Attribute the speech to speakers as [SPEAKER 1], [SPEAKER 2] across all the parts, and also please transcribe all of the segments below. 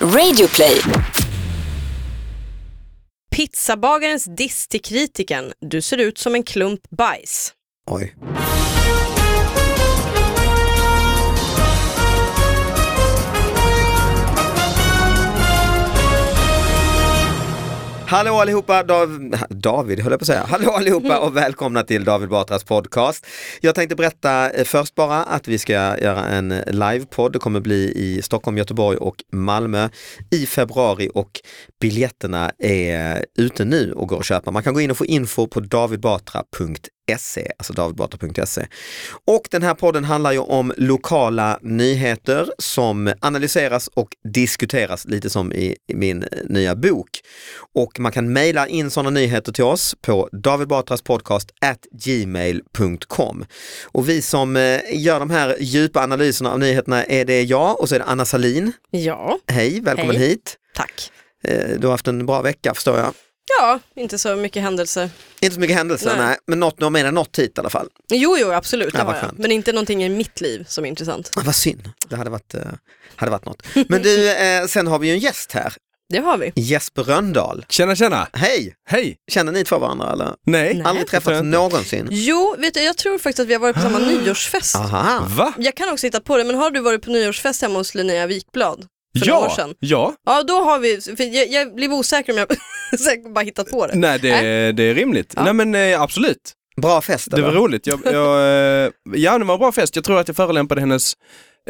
[SPEAKER 1] Radioplay.
[SPEAKER 2] Pizzabagarens diss till kritiken. Du ser ut som en klump bajs.
[SPEAKER 3] Oj. Hallå allihopa, Dav... David höll jag på att säga. Hallå allihopa och välkomna till David Batras podcast. Jag tänkte berätta eh, först bara att vi ska göra en livepodd. Det kommer bli i Stockholm, Göteborg och Malmö i februari och biljetterna är ute nu och går att köpa. Man kan gå in och få info på davidbatra.se, alltså davidbatra.se. Och den här podden handlar ju om lokala nyheter som analyseras och diskuteras lite som i min nya bok. Och man kan mejla in sådana nyheter till oss på davidbatraspodcast@gmail.com. Och vi som eh, gör de här djupa analyserna av nyheterna är det jag och så är det Anna Salin.
[SPEAKER 2] Ja,
[SPEAKER 3] Hej, välkommen
[SPEAKER 2] Hej.
[SPEAKER 3] hit.
[SPEAKER 2] tack.
[SPEAKER 3] Eh, Du har haft en bra vecka förstår jag.
[SPEAKER 2] Ja, inte så mycket händelser.
[SPEAKER 3] Inte så mycket händelser,
[SPEAKER 2] Nej.
[SPEAKER 3] nej. men något, du har med dig något hit i alla fall.
[SPEAKER 2] Jo, jo, absolut. det
[SPEAKER 3] Ja, vad
[SPEAKER 2] har jag.
[SPEAKER 3] skönt.
[SPEAKER 2] Men inte någonting i mitt liv som är intressant.
[SPEAKER 3] Ah, Vad synd, det hade varit, eh, hade varit något. Men du, eh, sen har vi ju en gäst här,
[SPEAKER 2] Det har vi.
[SPEAKER 3] Jesper Röndahl.
[SPEAKER 4] Tjena tjena!
[SPEAKER 3] Hej!
[SPEAKER 4] Hej!
[SPEAKER 3] Känner ni två varandra eller?
[SPEAKER 4] Nej.
[SPEAKER 2] Nej.
[SPEAKER 3] Aldrig
[SPEAKER 4] tror
[SPEAKER 3] träffats
[SPEAKER 4] jag
[SPEAKER 3] någonsin?
[SPEAKER 2] Jo, vet du, jag tror faktiskt att vi har varit på samma nyårsfest.
[SPEAKER 3] Aha.
[SPEAKER 4] Va?
[SPEAKER 2] Jag kan också hitta på det, men har du varit på nyårsfest hemma hos Linnea Wikblad? För några år
[SPEAKER 4] Ja!
[SPEAKER 2] sedan.
[SPEAKER 4] ja.
[SPEAKER 2] Ja, då har vi, för jag, jag blev osäker om jag säkert bara hittat på det.
[SPEAKER 4] Nej, det, det är rimligt.
[SPEAKER 2] Äh. Ja.
[SPEAKER 4] Nej men eh, absolut,
[SPEAKER 3] Bra fest
[SPEAKER 4] det var
[SPEAKER 3] eller?
[SPEAKER 4] roligt. Jag, jag, eh, ja, det var en bra fest. Jag tror att jag förolämpade hennes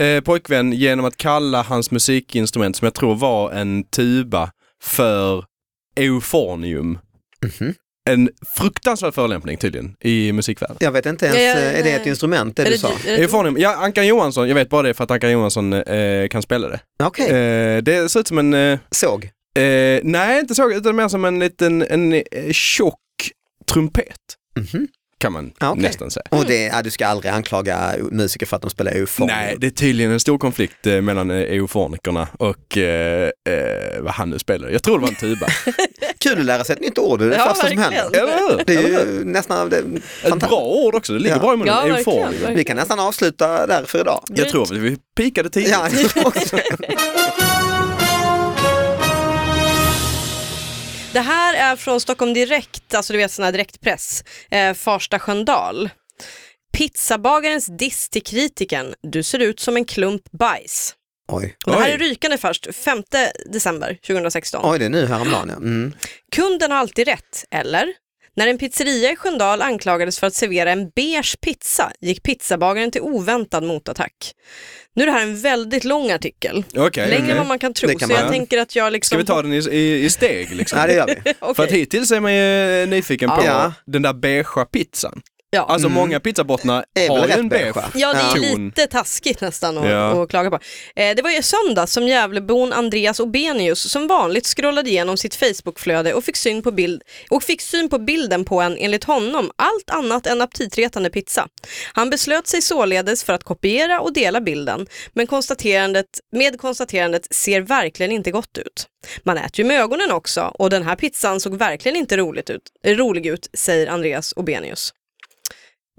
[SPEAKER 4] eh, pojkvän genom att kalla hans musikinstrument, som jag tror var en tuba, för euphonium.
[SPEAKER 3] Mhm.
[SPEAKER 4] En fruktansvärd förolämpning tydligen i musikvärlden.
[SPEAKER 3] Jag vet inte ens,
[SPEAKER 2] Ja, ja,
[SPEAKER 3] eh, är det
[SPEAKER 2] nej.
[SPEAKER 3] ett instrument det
[SPEAKER 2] Är
[SPEAKER 3] du
[SPEAKER 2] det-
[SPEAKER 3] sa?
[SPEAKER 2] är det-
[SPEAKER 4] Euphonium, ja Ankan Johansson, jag vet bara det för att Ankan Johansson eh, kan spela det.
[SPEAKER 3] Okej,
[SPEAKER 4] Eh, det ser ut som en eh,
[SPEAKER 3] såg.
[SPEAKER 4] Eh, nej, inte så, utan mer som en liten en, eh, tjock trumpet.
[SPEAKER 3] Mhm.
[SPEAKER 4] Kan man
[SPEAKER 3] Ja, okej.
[SPEAKER 4] nästan säga.
[SPEAKER 3] Och det, ja, du ska aldrig anklaga musiker för att de spelar eufoniskt.
[SPEAKER 4] Nej, det är tydligen en stor konflikt eh, mellan eh, eufonikerna och eh, eh, vad han nu spelar. Jag tror det var en tuba.
[SPEAKER 3] Kul att lära sig ett nytt ord, det är det
[SPEAKER 2] Ja,
[SPEAKER 3] första som
[SPEAKER 2] verkligen.
[SPEAKER 3] händer.
[SPEAKER 4] Eller hur?
[SPEAKER 3] Det är
[SPEAKER 4] Eller hur?
[SPEAKER 3] ju nästan, det,
[SPEAKER 4] Ett bra ord också, det ligger
[SPEAKER 3] Ja.
[SPEAKER 4] bra i
[SPEAKER 2] Ja,
[SPEAKER 4] munnen.
[SPEAKER 2] verkligen,
[SPEAKER 4] Eufonium.
[SPEAKER 2] verkligen.
[SPEAKER 3] vi kan nästan avsluta där för idag.
[SPEAKER 2] Mm.
[SPEAKER 4] Jag tror att vi pikade tidigt.
[SPEAKER 3] Ja, jag tror också det.
[SPEAKER 2] Det här är från Stockholm Direkt, alltså du vet sån här direktpress, eh, Farsta Sköndal. Pizzabagarens diss till kritiken. Du ser ut som en klump bajs.
[SPEAKER 3] Oj.
[SPEAKER 2] Och det här
[SPEAKER 4] Oj.
[SPEAKER 2] är rykande först, 5 december 2016.
[SPEAKER 3] Oj, det är nu häromdagen ja. Mm.
[SPEAKER 2] Kunden har alltid rätt, eller? När en pizzeria i Sköndal anklagades för att servera en beige pizza gick pizzabagaren till oväntad motattack. Nu är det här en väldigt lång artikel.
[SPEAKER 4] Okej.
[SPEAKER 2] Längre än
[SPEAKER 4] okej.
[SPEAKER 2] vad man kan tro,
[SPEAKER 3] Det kan
[SPEAKER 2] så jag
[SPEAKER 3] man.
[SPEAKER 2] tänker att jag liksom...
[SPEAKER 4] Ska vi ta den i, i, i steg liksom?
[SPEAKER 3] Ja, det gör vi.
[SPEAKER 2] Okej.
[SPEAKER 4] För att hittills är man ju eh, nyfiken på
[SPEAKER 3] Ja.
[SPEAKER 4] den där beigea pizzan.
[SPEAKER 2] Ja.
[SPEAKER 4] Alltså många pizzabottnar
[SPEAKER 3] Är
[SPEAKER 4] har
[SPEAKER 3] väl
[SPEAKER 4] ju
[SPEAKER 3] rätt
[SPEAKER 4] en beige.
[SPEAKER 3] beigea.
[SPEAKER 2] Ja, det är ju
[SPEAKER 4] Ton.
[SPEAKER 2] lite taskigt nästan att,
[SPEAKER 4] Ja.
[SPEAKER 2] att klaga på. Eh, det var ju söndag som Gävlebon Andreas Obenius som vanligt scrollade igenom sitt Facebookflöde och fick syn på, bild, och fick syn på bilden på en, enligt honom, allt annat än aptitretande pizza. Han beslöt sig således för att kopiera och dela bilden, men konstaterandet, med konstaterandet ser verkligen inte gott ut. Man äter ju med ögonen också och den här pizzan såg verkligen inte roligt ut, rolig ut, säger Andreas Obenius.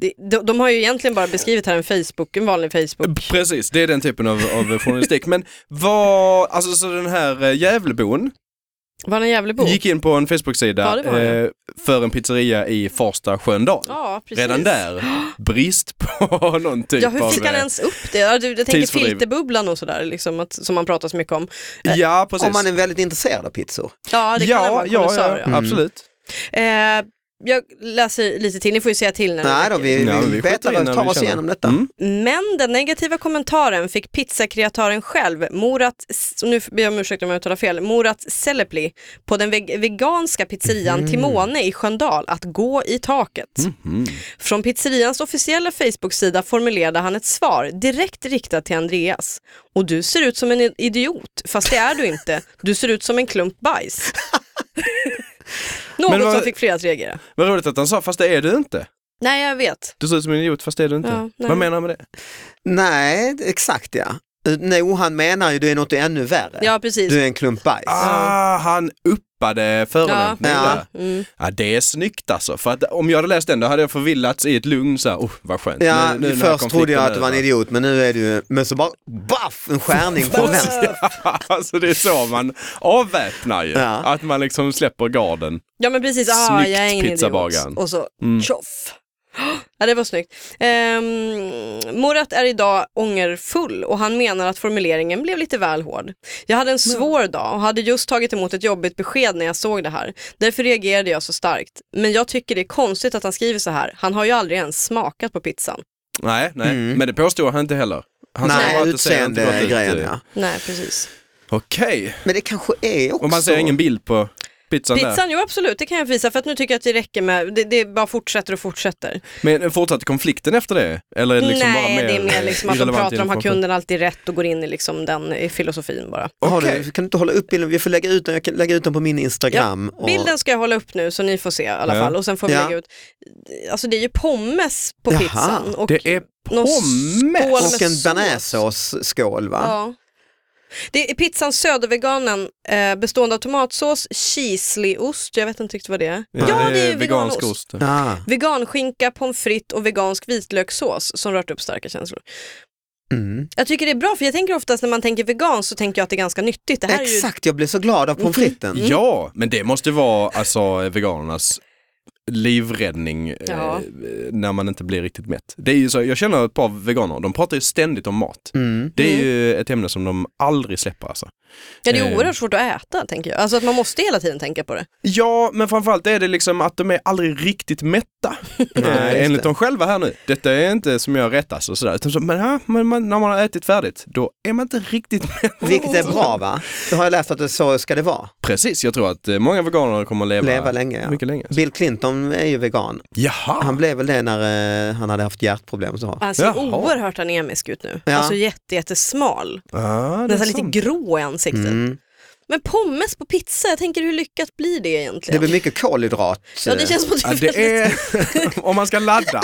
[SPEAKER 2] Det- De, de har ju egentligen bara beskrivit här en Facebook, en vanlig Facebook.
[SPEAKER 4] Precis, det är den typen av, av journalistik. Men vad, alltså så den här eh, Gävlebon
[SPEAKER 2] Var han en Gävlebo?
[SPEAKER 4] gick in på en
[SPEAKER 2] Ja,
[SPEAKER 4] Facebook-sida
[SPEAKER 2] det var han,
[SPEAKER 4] eh, för en pizzeria i Farsta Sköndal.
[SPEAKER 2] Ja, precis.
[SPEAKER 4] Redan där, brist på någon typ
[SPEAKER 2] Ja, hur
[SPEAKER 4] av...
[SPEAKER 2] fick han
[SPEAKER 4] eh,
[SPEAKER 2] ens upp det? Ja, du- Jag tänker
[SPEAKER 4] Tidsfördriv.
[SPEAKER 2] filterbubblan och sådär, liksom, att, som man pratar så mycket om.
[SPEAKER 4] Ja, precis.
[SPEAKER 3] Om man är väldigt intresserad av pizzor.
[SPEAKER 2] Ja, det kan
[SPEAKER 4] ja,
[SPEAKER 2] vara en
[SPEAKER 4] ja,
[SPEAKER 2] konnässör,
[SPEAKER 4] ja,
[SPEAKER 2] ja.
[SPEAKER 4] absolut.
[SPEAKER 2] Eh, jag läser lite till, ni får ju säga till när det
[SPEAKER 3] Nej
[SPEAKER 2] räcker.
[SPEAKER 3] då, vi,
[SPEAKER 4] Ja, men
[SPEAKER 3] vi
[SPEAKER 4] vi skiter
[SPEAKER 3] betar
[SPEAKER 4] i när
[SPEAKER 3] och tar
[SPEAKER 4] vi
[SPEAKER 3] oss
[SPEAKER 4] känner.
[SPEAKER 3] igenom detta.
[SPEAKER 4] Mm.
[SPEAKER 2] Men den negativa kommentaren fick pizzakreatören själv, Morat, och nu ber jag om ursäkt om jag uttalar fel, Morat Selepli på den veg- veganska pizzerian
[SPEAKER 4] Mhm.
[SPEAKER 2] Timone i Sköndal att gå i taket. Från pizzerians officiella Facebook-sida formulerade han ett svar direkt riktat till Andreas. Och du ser ut som en i- idiot, fast det är du inte. Du ser ut som en klump bajs. Något
[SPEAKER 4] Men vad-
[SPEAKER 2] som fick flera att reagera.
[SPEAKER 4] Vad roligt att han sa, fast det är du inte.
[SPEAKER 2] Nej, jag vet.
[SPEAKER 4] Du ser ut som en idiot, fast det är du inte.
[SPEAKER 2] Ja, nej.
[SPEAKER 4] vad menar han med det?
[SPEAKER 3] Nej, exakt ja. Nej, han menar ju du är något ännu värre.
[SPEAKER 2] Ja, precis.
[SPEAKER 3] Du är en klump bajs.
[SPEAKER 4] Ah, han flippade förolämpning
[SPEAKER 3] Ja.
[SPEAKER 4] där.
[SPEAKER 2] Mm.
[SPEAKER 4] Ja, det är snyggt alltså. För att om jag hade läst den då hade jag förvillats i ett lugn så här, oh vad skönt.
[SPEAKER 3] Ja,
[SPEAKER 4] Nu- nu när
[SPEAKER 3] först trodde jag
[SPEAKER 4] konflikten
[SPEAKER 3] att du var en
[SPEAKER 4] är över.
[SPEAKER 3] idiot men nu är du, men så bara baff, en skärning från vänster.
[SPEAKER 4] alltså det är så man avväpnar ju.
[SPEAKER 3] Ja.
[SPEAKER 4] Att man liksom släpper garden.
[SPEAKER 2] Ja men precis, ah,
[SPEAKER 4] Snyggt,
[SPEAKER 2] jag är ingen
[SPEAKER 4] pizzabagaren.
[SPEAKER 2] idiot. Och så tjoff. Ja det var snyggt. Um, Morat är idag ångerfull och han menar att formuleringen blev lite väl hård. Jag hade en svår dag och hade just tagit emot ett jobbigt besked när jag såg det här. Därför reagerade jag så starkt. Men jag tycker det är konstigt att han skriver så här. Han har ju aldrig ens smakat på pizzan.
[SPEAKER 4] Nej, nej. Men det påstår han inte heller. Han sa bara
[SPEAKER 3] Mm. Nej,
[SPEAKER 4] att det ser inte gott
[SPEAKER 3] utseende
[SPEAKER 4] ut. typ. eh.
[SPEAKER 3] grejen ja.
[SPEAKER 2] Nej precis.
[SPEAKER 4] Okej,
[SPEAKER 3] Men det kanske är också...
[SPEAKER 4] och man ser ingen bild på pizzan, där.
[SPEAKER 2] Pizzan, jo absolut det kan jag visa för att nu tycker jag att det räcker med, det, det bara fortsätter och fortsätter.
[SPEAKER 4] Men fortsatte konflikten efter det? Eller är det liksom bara
[SPEAKER 2] Nej
[SPEAKER 4] mer
[SPEAKER 2] det är mer liksom att de
[SPEAKER 4] irrelevant
[SPEAKER 2] pratar om har
[SPEAKER 4] information?
[SPEAKER 2] kunden alltid rätt och går in i liksom den eh, filosofin bara.
[SPEAKER 3] Har
[SPEAKER 4] Okej.
[SPEAKER 3] du, kan du inte hålla upp bilden? Vi får lägga ut den, jag kan lägga ut den på min Instagram. och-
[SPEAKER 2] Bilden ska jag hålla upp nu så ni får se i alla
[SPEAKER 4] Ja.
[SPEAKER 2] fall och sen får vi
[SPEAKER 3] Ja.
[SPEAKER 2] lägga ut. Alltså det är ju pommes på
[SPEAKER 3] Jaha.
[SPEAKER 2] pizzan. Och
[SPEAKER 4] Det är
[SPEAKER 2] någon skål
[SPEAKER 4] pommes!
[SPEAKER 2] med
[SPEAKER 3] Och en
[SPEAKER 2] sås.
[SPEAKER 3] bearnaisesås-skål va?
[SPEAKER 2] Ja. Det är pizzan Söderveganen eh, bestående av tomatsås, chisliost, jag vet inte riktigt vad det är. Ja, det är
[SPEAKER 4] vegansk
[SPEAKER 2] veganost.
[SPEAKER 4] ost.
[SPEAKER 3] Ah.
[SPEAKER 2] Veganskinka, pommes frites och vegansk vitlökssås som rört upp starka känslor.
[SPEAKER 3] Mm.
[SPEAKER 2] Jag tycker det är bra för jag tänker oftast när man tänker vegan så tänker jag att det är ganska nyttigt. Det här är ju Mm.
[SPEAKER 3] Exakt, jag blev så glad av pommes fritesen.
[SPEAKER 4] Ja, men det måste vara alltså veganernas livräddning eh,
[SPEAKER 2] Ja.
[SPEAKER 4] när man inte blir riktigt mätt. Det är ju så, jag känner ett par veganer, de pratar ju ständigt om mat.
[SPEAKER 3] Mm.
[SPEAKER 4] Det är ju ett ämne som de aldrig släpper alltså.
[SPEAKER 2] Ja, det
[SPEAKER 4] Eh.
[SPEAKER 2] är oerhört svårt att äta tänker jag. Alltså att man måste hela tiden tänka på det.
[SPEAKER 4] Ja, men framförallt är det liksom att de är aldrig riktigt mätta. Eh,
[SPEAKER 3] Nej, just
[SPEAKER 4] Enligt
[SPEAKER 3] det.
[SPEAKER 4] dem själva här nu. Detta är inte som jag rättas och sådär. Utan så, men, ja, men man, när man har ätit färdigt, då är man inte riktigt mätt.
[SPEAKER 3] Vilket är bra va? Då har jag läst att det så ska det vara.
[SPEAKER 4] Precis, jag tror att eh, många veganer kommer att leva,
[SPEAKER 3] Leva länge. Ja.
[SPEAKER 4] mycket länge.
[SPEAKER 3] Bill Clinton är ju vegan.
[SPEAKER 4] Jaha!
[SPEAKER 3] Han blev väl det när eh, han hade haft hjärtproblem. Så.
[SPEAKER 2] Han ser
[SPEAKER 4] Jaha.
[SPEAKER 2] Alltså, oerhört anemisk ut nu.
[SPEAKER 3] Ja.
[SPEAKER 2] Alltså jätte, jättesmal.
[SPEAKER 4] ah, det är
[SPEAKER 2] Nästan
[SPEAKER 4] sant.
[SPEAKER 2] lite grå i ansiktet.
[SPEAKER 3] Mm.
[SPEAKER 2] Men pommes på pizza, jag tänker hur lyckat blir det
[SPEAKER 3] Det
[SPEAKER 2] egentligen?
[SPEAKER 3] blir mycket kolhydrat. eh,
[SPEAKER 2] ja, det känns som
[SPEAKER 4] Ja,
[SPEAKER 2] att det är
[SPEAKER 4] det
[SPEAKER 2] väldigt...
[SPEAKER 4] är, om man ska ladda,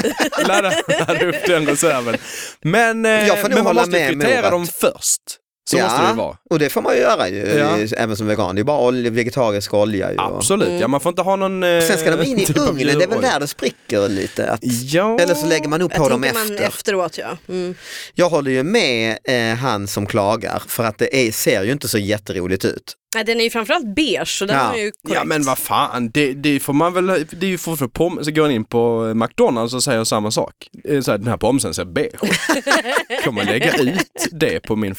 [SPEAKER 4] ladda, ladda upp den reserven. Men, eh,
[SPEAKER 3] Jag får nog
[SPEAKER 4] men man
[SPEAKER 3] hålla
[SPEAKER 4] måste ju
[SPEAKER 3] med med
[SPEAKER 4] kvittera
[SPEAKER 3] ordet.
[SPEAKER 4] dem först. Så
[SPEAKER 3] Ja.
[SPEAKER 4] måste det ju vara.
[SPEAKER 3] Och det får man ju göra ju,
[SPEAKER 4] Ja.
[SPEAKER 3] även som vegan. Det är bara olja, vegetarisk olja. Ju. och-
[SPEAKER 4] Absolut, ja man får inte ha någon... eh,
[SPEAKER 3] Sen ska de in i
[SPEAKER 4] typ av
[SPEAKER 3] ugnen, det är väl
[SPEAKER 4] djurolja.
[SPEAKER 3] där det spricker lite. Att,
[SPEAKER 4] Ja.
[SPEAKER 3] eller så lägger man upp på
[SPEAKER 2] Jag
[SPEAKER 3] dem
[SPEAKER 2] tänker man
[SPEAKER 3] efter.
[SPEAKER 2] efteråt ja. Mm.
[SPEAKER 3] Jag håller ju med eh, han som klagar för att det är, ser ju inte så jätteroligt ut.
[SPEAKER 2] Nej, den är ju framförallt beige så den
[SPEAKER 3] Ja.
[SPEAKER 2] är ju korrekt.
[SPEAKER 4] Ja men vad fan, det, det får man väl, det är ju för, för pom- så går man in på McDonalds och säger samma sak. Eh, Så här, den här pomsen ser beige ut. Kommer lägga ut det på min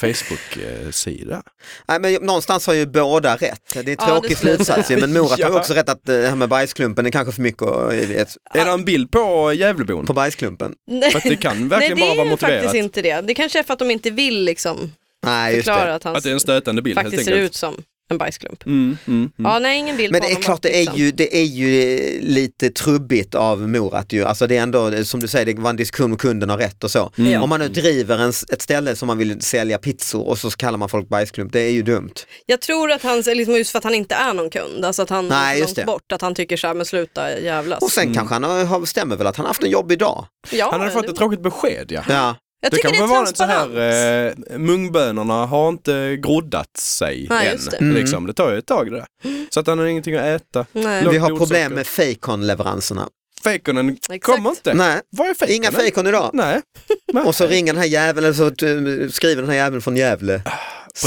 [SPEAKER 4] eh, Facebook-sida.
[SPEAKER 3] Nej, men någonstans har ju båda rätt. Det är
[SPEAKER 2] Ja,
[SPEAKER 3] tråkig
[SPEAKER 2] det slutar
[SPEAKER 3] slutsats ju, men Morat har ju
[SPEAKER 4] Ja.
[SPEAKER 3] också rätt att eh, det här med bajsklumpen är kanske för mycket och, jag vet,
[SPEAKER 4] Är det en bild på Gävlebon?
[SPEAKER 3] på bajsklumpen.
[SPEAKER 2] Nej.
[SPEAKER 4] För att det kan
[SPEAKER 2] Nej,
[SPEAKER 4] verkligen
[SPEAKER 2] det
[SPEAKER 4] bara vara
[SPEAKER 2] är
[SPEAKER 4] motiverat.
[SPEAKER 2] faktiskt inte det. Det kanske är för att de inte vill liksom
[SPEAKER 3] Nej, just
[SPEAKER 2] förklara
[SPEAKER 3] det.
[SPEAKER 2] att han
[SPEAKER 4] Att det är en stötande bild
[SPEAKER 2] faktiskt
[SPEAKER 4] helt
[SPEAKER 2] ser
[SPEAKER 4] enkelt.
[SPEAKER 2] ut som en bajsklump.
[SPEAKER 4] Mm, mm, mm.
[SPEAKER 2] Ja, nej, ingen bild
[SPEAKER 3] Men
[SPEAKER 2] på
[SPEAKER 3] det är
[SPEAKER 2] honom liksom.
[SPEAKER 3] klart,
[SPEAKER 2] på
[SPEAKER 3] det är
[SPEAKER 2] pizzan.
[SPEAKER 3] ju, det är ju eh, lite trubbigt av Morat ju. Alltså det är ändå, som du säger, det var en diskussion om kunden har rätt och så.
[SPEAKER 4] Mm.
[SPEAKER 2] Ja.
[SPEAKER 3] Om man nu driver en, ett ställe som man vill sälja pizzor och så kallar man folk bajsklump, det är ju dumt.
[SPEAKER 2] Jag tror att han, liksom just för att han inte är någon kund, alltså att han
[SPEAKER 3] Nej,
[SPEAKER 2] är
[SPEAKER 3] just
[SPEAKER 2] långt
[SPEAKER 3] det.
[SPEAKER 2] bort, att han tycker så här, men sluta jävlas.
[SPEAKER 3] Och sen
[SPEAKER 4] Mm.
[SPEAKER 3] kanske han har, har- stämmer väl att han har haft en jobbig dag.
[SPEAKER 2] ja,
[SPEAKER 4] Han hade fått
[SPEAKER 2] det-
[SPEAKER 4] ett tråkigt besked ja.
[SPEAKER 3] Ja.
[SPEAKER 2] Jag
[SPEAKER 4] Det
[SPEAKER 2] tycker det
[SPEAKER 4] kanske
[SPEAKER 2] är
[SPEAKER 4] var så
[SPEAKER 2] transparent.
[SPEAKER 4] här, eh, mungbönorna har inte groddat sig
[SPEAKER 2] Nej,
[SPEAKER 4] än.
[SPEAKER 2] just det.
[SPEAKER 4] Det. Liksom. det tar ju ett tag det där. Så att han har ingenting att äta.
[SPEAKER 2] Nej.
[SPEAKER 4] Lågt
[SPEAKER 3] Mm. Vi har problem
[SPEAKER 4] blodsocker.
[SPEAKER 3] med fejkonleveranserna.
[SPEAKER 4] Fakonen
[SPEAKER 2] Exakt.
[SPEAKER 4] kommer inte.
[SPEAKER 3] Nej,
[SPEAKER 4] Vad är fejkonen?
[SPEAKER 3] inga fejkon idag.
[SPEAKER 4] Nej.
[SPEAKER 3] Och så ringer den här jäveln, eller så eh, skriver den här jäveln från Gävle
[SPEAKER 4] Ah,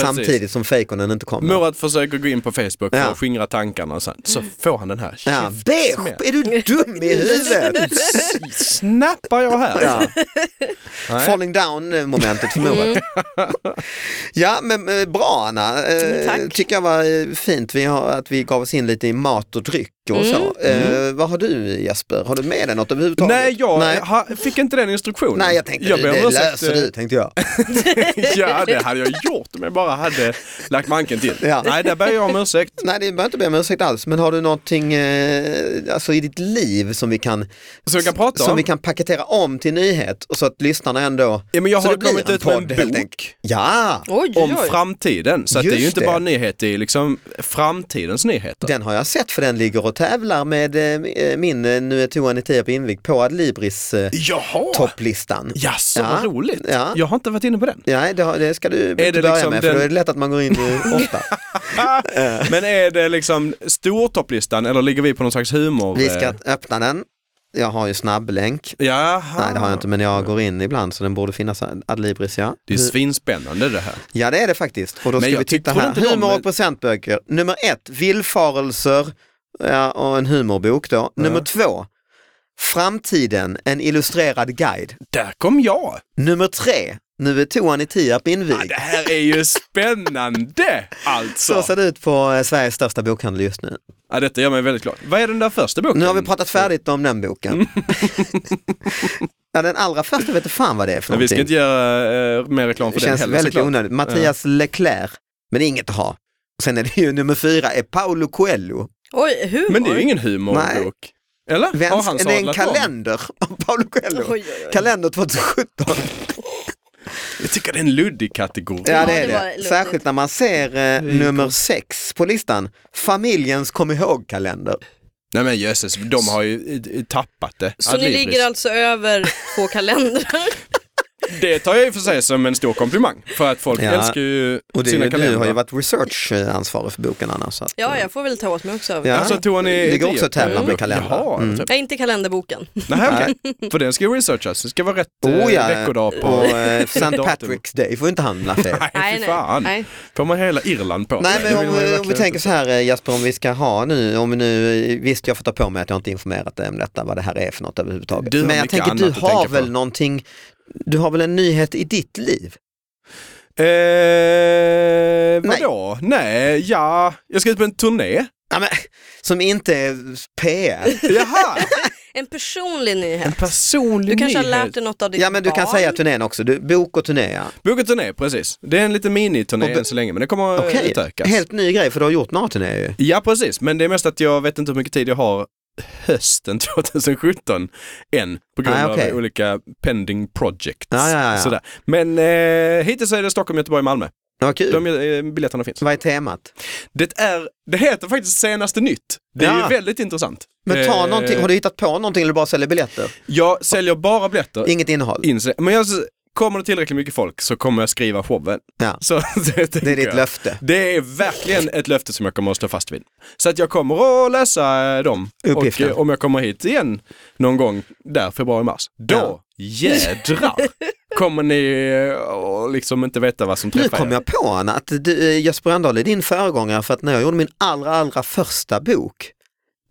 [SPEAKER 3] samtidigt som fejkonen inte kommer.
[SPEAKER 4] Murat försöker gå in på Facebook för
[SPEAKER 3] Ja.
[SPEAKER 4] att skingra tankarna och sen
[SPEAKER 2] Mm.
[SPEAKER 4] så får han den här.
[SPEAKER 3] Ja,
[SPEAKER 4] Shit,
[SPEAKER 3] beige,
[SPEAKER 4] smäll.
[SPEAKER 3] är du dum i huvudet?
[SPEAKER 4] Snappar jag här?
[SPEAKER 3] Ja.
[SPEAKER 4] Nej. Mm.
[SPEAKER 3] Falling down eh, momentet för Murat. Ja men eh, bra Anna, eh,
[SPEAKER 2] Tack.
[SPEAKER 3] tycker jag var eh, fint vi har, att vi gav oss in lite i mat och dryck och så. Eh, vad har du Jesper, har du med dig något överhuvudtaget?
[SPEAKER 4] Mm. Nej, jag
[SPEAKER 3] Nej.
[SPEAKER 4] Ha, fick inte den instruktionen.
[SPEAKER 3] Nej jag tänkte
[SPEAKER 4] jag
[SPEAKER 3] det,
[SPEAKER 4] ber om
[SPEAKER 3] det
[SPEAKER 4] ursäkt,
[SPEAKER 3] löser
[SPEAKER 4] eh,
[SPEAKER 3] du tänkte jag.
[SPEAKER 4] Ja, det hade jag gjort om jag bara hade lagt manken till.
[SPEAKER 3] Ja.
[SPEAKER 4] Nej, där ber jag om ursäkt.
[SPEAKER 3] Nej, du behöver inte be om ursäkt alls, men har du någonting eh, alltså i ditt liv som vi kan,
[SPEAKER 4] Så vi kan prata
[SPEAKER 3] som
[SPEAKER 4] om.
[SPEAKER 3] vi kan paketera om till nyhet och så att lyssnarna ändå...
[SPEAKER 4] Ja, men jag
[SPEAKER 3] så
[SPEAKER 4] har
[SPEAKER 3] det blir
[SPEAKER 4] kommit
[SPEAKER 3] en
[SPEAKER 4] ut med en
[SPEAKER 3] podd, helt
[SPEAKER 4] bok.
[SPEAKER 3] enkelt. Ja,
[SPEAKER 2] Oj, oj,
[SPEAKER 4] om
[SPEAKER 2] oj.
[SPEAKER 4] framtiden. Så att det är ju
[SPEAKER 3] Just
[SPEAKER 4] inte
[SPEAKER 3] det.
[SPEAKER 4] bara nyhet, det är liksom framtidens nyheter.
[SPEAKER 3] den har jag sett för den ligger och tävlar med eh, min eh, Nu är toan i Tierp invigd på Adlibris eh,
[SPEAKER 4] Jaha!
[SPEAKER 3] topplistan.
[SPEAKER 4] Jaså,
[SPEAKER 3] Ja.
[SPEAKER 4] vad roligt.
[SPEAKER 3] Ja.
[SPEAKER 4] Jag har inte varit inne på den.
[SPEAKER 3] Nej, det, har- det ska du inte
[SPEAKER 4] det
[SPEAKER 3] börja
[SPEAKER 4] liksom
[SPEAKER 3] med för
[SPEAKER 4] den-
[SPEAKER 3] då är det lätt att man går in eh, ofta.
[SPEAKER 4] Ah.
[SPEAKER 3] Eh.
[SPEAKER 4] Men är det liksom stortopplistan eller ligger vi på någon slags humor?
[SPEAKER 3] Vi ska
[SPEAKER 4] eh?
[SPEAKER 3] öppna den. Jag har ju snabblänk.
[SPEAKER 4] Jaha.
[SPEAKER 3] Nej, det har jag inte, men jag går in ibland så den borde finnas Adlibris, ja.
[SPEAKER 4] Ah. Det är svinspännande det här.
[SPEAKER 3] Ja, det är det faktiskt. Och då
[SPEAKER 4] Men
[SPEAKER 3] ska
[SPEAKER 4] jag
[SPEAKER 3] vi titta
[SPEAKER 4] trodde
[SPEAKER 3] här.
[SPEAKER 4] inte de-
[SPEAKER 3] Humor och presentböcker. Nummer ett, villfarelser ja, och en humorbok då. Nummer två, Framtiden, en illustrerad guide.
[SPEAKER 4] Där kom jag!
[SPEAKER 3] Nummer tre, Nu är toan i Tierp
[SPEAKER 4] Ja,
[SPEAKER 3] invigd.
[SPEAKER 4] det här är ju spännande
[SPEAKER 3] Så
[SPEAKER 4] alltså!
[SPEAKER 3] ser det ut på eh, Sveriges största bokhandel just nu.
[SPEAKER 4] Ja, detta gör mig väldigt glad. Vad är den där första boken?
[SPEAKER 3] Nu har vi pratat färdigt om den
[SPEAKER 4] Mm.
[SPEAKER 3] boken. ja, den allra första vet du fan vad det är för
[SPEAKER 4] Men vi ska
[SPEAKER 3] någonting.
[SPEAKER 4] inte göra eh, mer reklam för
[SPEAKER 3] Det känns
[SPEAKER 4] den heller
[SPEAKER 3] väldigt
[SPEAKER 4] såklart.
[SPEAKER 3] onödigt. Mattias Leclerc, men det är inget att ha. Sen är det ju nummer fyra, är Paolo Coelho.
[SPEAKER 2] Oj, humor.
[SPEAKER 4] Men det är ju ingen humorbok. Eller? har
[SPEAKER 3] Vänsk,
[SPEAKER 4] han
[SPEAKER 3] det är en
[SPEAKER 4] sadlat om?
[SPEAKER 3] kalender av Paolo
[SPEAKER 2] Oj,
[SPEAKER 3] Coelho.
[SPEAKER 2] oj, oj.
[SPEAKER 3] Kalender 2017.
[SPEAKER 4] Jag tycker det är en luddig kategori.
[SPEAKER 3] Ja, det
[SPEAKER 2] det
[SPEAKER 3] är
[SPEAKER 2] var
[SPEAKER 3] det.
[SPEAKER 2] luddigt.
[SPEAKER 3] Särskilt när man ser eh, nummer sex på listan. Familjens kom ihåg-kalender.
[SPEAKER 4] Nej men jösses, de har ju eh, tappat det.
[SPEAKER 2] Så ni
[SPEAKER 4] Adlibris.
[SPEAKER 2] ligger alltså över två kalendrar?
[SPEAKER 4] Det tar jag i och för sig som en stor komplimang. För att folk
[SPEAKER 3] Ja.
[SPEAKER 4] älskar ju
[SPEAKER 3] Och det,
[SPEAKER 4] sina
[SPEAKER 3] är- du
[SPEAKER 4] kalendrar.
[SPEAKER 3] har ju varit researchansvarig för boken annars. så att,
[SPEAKER 2] Ja, jag får väl ta åt mig också av det.
[SPEAKER 3] Ja.
[SPEAKER 4] Alltså tog ni...
[SPEAKER 3] Det går också att tävla med kalendrar.
[SPEAKER 4] Jaha,
[SPEAKER 3] Mm.
[SPEAKER 4] typ.
[SPEAKER 2] Nej, inte kalenderboken.
[SPEAKER 4] Nej, okej. För den ska ju researchas. Det ska vara rätt eh,
[SPEAKER 3] Oh, ja.
[SPEAKER 4] veckodag på...
[SPEAKER 3] Och eh, St.
[SPEAKER 4] datum.
[SPEAKER 3] Patrick's Day får inte handla fel.
[SPEAKER 4] Nej, fy fan.
[SPEAKER 2] nej.
[SPEAKER 4] Får man hela Irland på
[SPEAKER 3] Nej
[SPEAKER 4] sig?
[SPEAKER 3] men
[SPEAKER 4] Det vill
[SPEAKER 3] om,
[SPEAKER 4] man
[SPEAKER 3] vi-
[SPEAKER 4] ju
[SPEAKER 3] om vi
[SPEAKER 4] verkligen
[SPEAKER 3] tänker
[SPEAKER 4] inte.
[SPEAKER 3] så här eh, Jasper, om vi ska ha nu, om vi nu, eh, visst jag får ta på mig att jag inte informerat dig om detta, vad det här är för något överhuvudtaget.
[SPEAKER 4] Du har
[SPEAKER 3] men jag
[SPEAKER 4] mycket
[SPEAKER 3] tänker du
[SPEAKER 4] annat att
[SPEAKER 3] har
[SPEAKER 4] tänka på.
[SPEAKER 3] väl någonting, du har väl en nyhet i ditt liv? Nej.
[SPEAKER 4] Eh, vadå? Nej. ja. Jag ska ut på en turné.
[SPEAKER 3] Ja, men, som inte är PR.
[SPEAKER 4] Jaha!
[SPEAKER 2] En personlig
[SPEAKER 4] En
[SPEAKER 2] nyhet.
[SPEAKER 4] personlig
[SPEAKER 2] Du kanske har
[SPEAKER 4] nyhet.
[SPEAKER 2] lärt dig något av ditt
[SPEAKER 3] Ja men du kan
[SPEAKER 2] barn.
[SPEAKER 3] säga turnén också, du, bok och turné ja.
[SPEAKER 4] Boka turné, precis. Det är en liten miniturné
[SPEAKER 3] Och be-
[SPEAKER 4] än så länge, men det kommer att
[SPEAKER 3] Okej,
[SPEAKER 4] utökas.
[SPEAKER 3] helt ny grej för du har gjort några turnéer ju.
[SPEAKER 4] Ja, precis. Men det är mest att jag vet inte hur mycket tid jag har hösten 2017 än på grund
[SPEAKER 3] Nej, Ah, okej.
[SPEAKER 4] av olika pending projects.
[SPEAKER 3] Ja, ja, ja, ja.
[SPEAKER 4] Sådär. Men eh, hittills är det Stockholm, Göteborg, Malmö.
[SPEAKER 3] Ja, Vad kul.
[SPEAKER 4] De eh, biljetterna finns.
[SPEAKER 3] Vad är temat?
[SPEAKER 4] Det, är, det heter faktiskt senaste nytt. Det är
[SPEAKER 3] Ja.
[SPEAKER 4] ju väldigt intressant.
[SPEAKER 3] Men ta
[SPEAKER 4] Eh,
[SPEAKER 3] någonting, har du hittat på någonting eller bara säljer biljetter?
[SPEAKER 4] Jag säljer bara biljetter.
[SPEAKER 3] Inget innehåll?
[SPEAKER 4] in sig. Men jag, kommer det tillräckligt mycket folk så kommer jag skriva showen.
[SPEAKER 3] Ja.
[SPEAKER 4] Så, det, tänker
[SPEAKER 3] Det är ditt
[SPEAKER 4] jag.
[SPEAKER 3] löfte.
[SPEAKER 4] Det är verkligen ett löfte som jag kommer att stå fast vid. Så att jag kommer att läsa eh, dem. Och
[SPEAKER 3] Uppgiften.
[SPEAKER 4] eh, om jag kommer hit igen någon gång där februari-mars, då
[SPEAKER 3] Ja.
[SPEAKER 4] jädrar kommer ni eh, att liksom inte veta vad som
[SPEAKER 3] Nu
[SPEAKER 4] träffar
[SPEAKER 3] kom jag på Anna, att du, eh, Jesper Rönndahl är din föregångare för att när jag gjorde min allra, allra första bok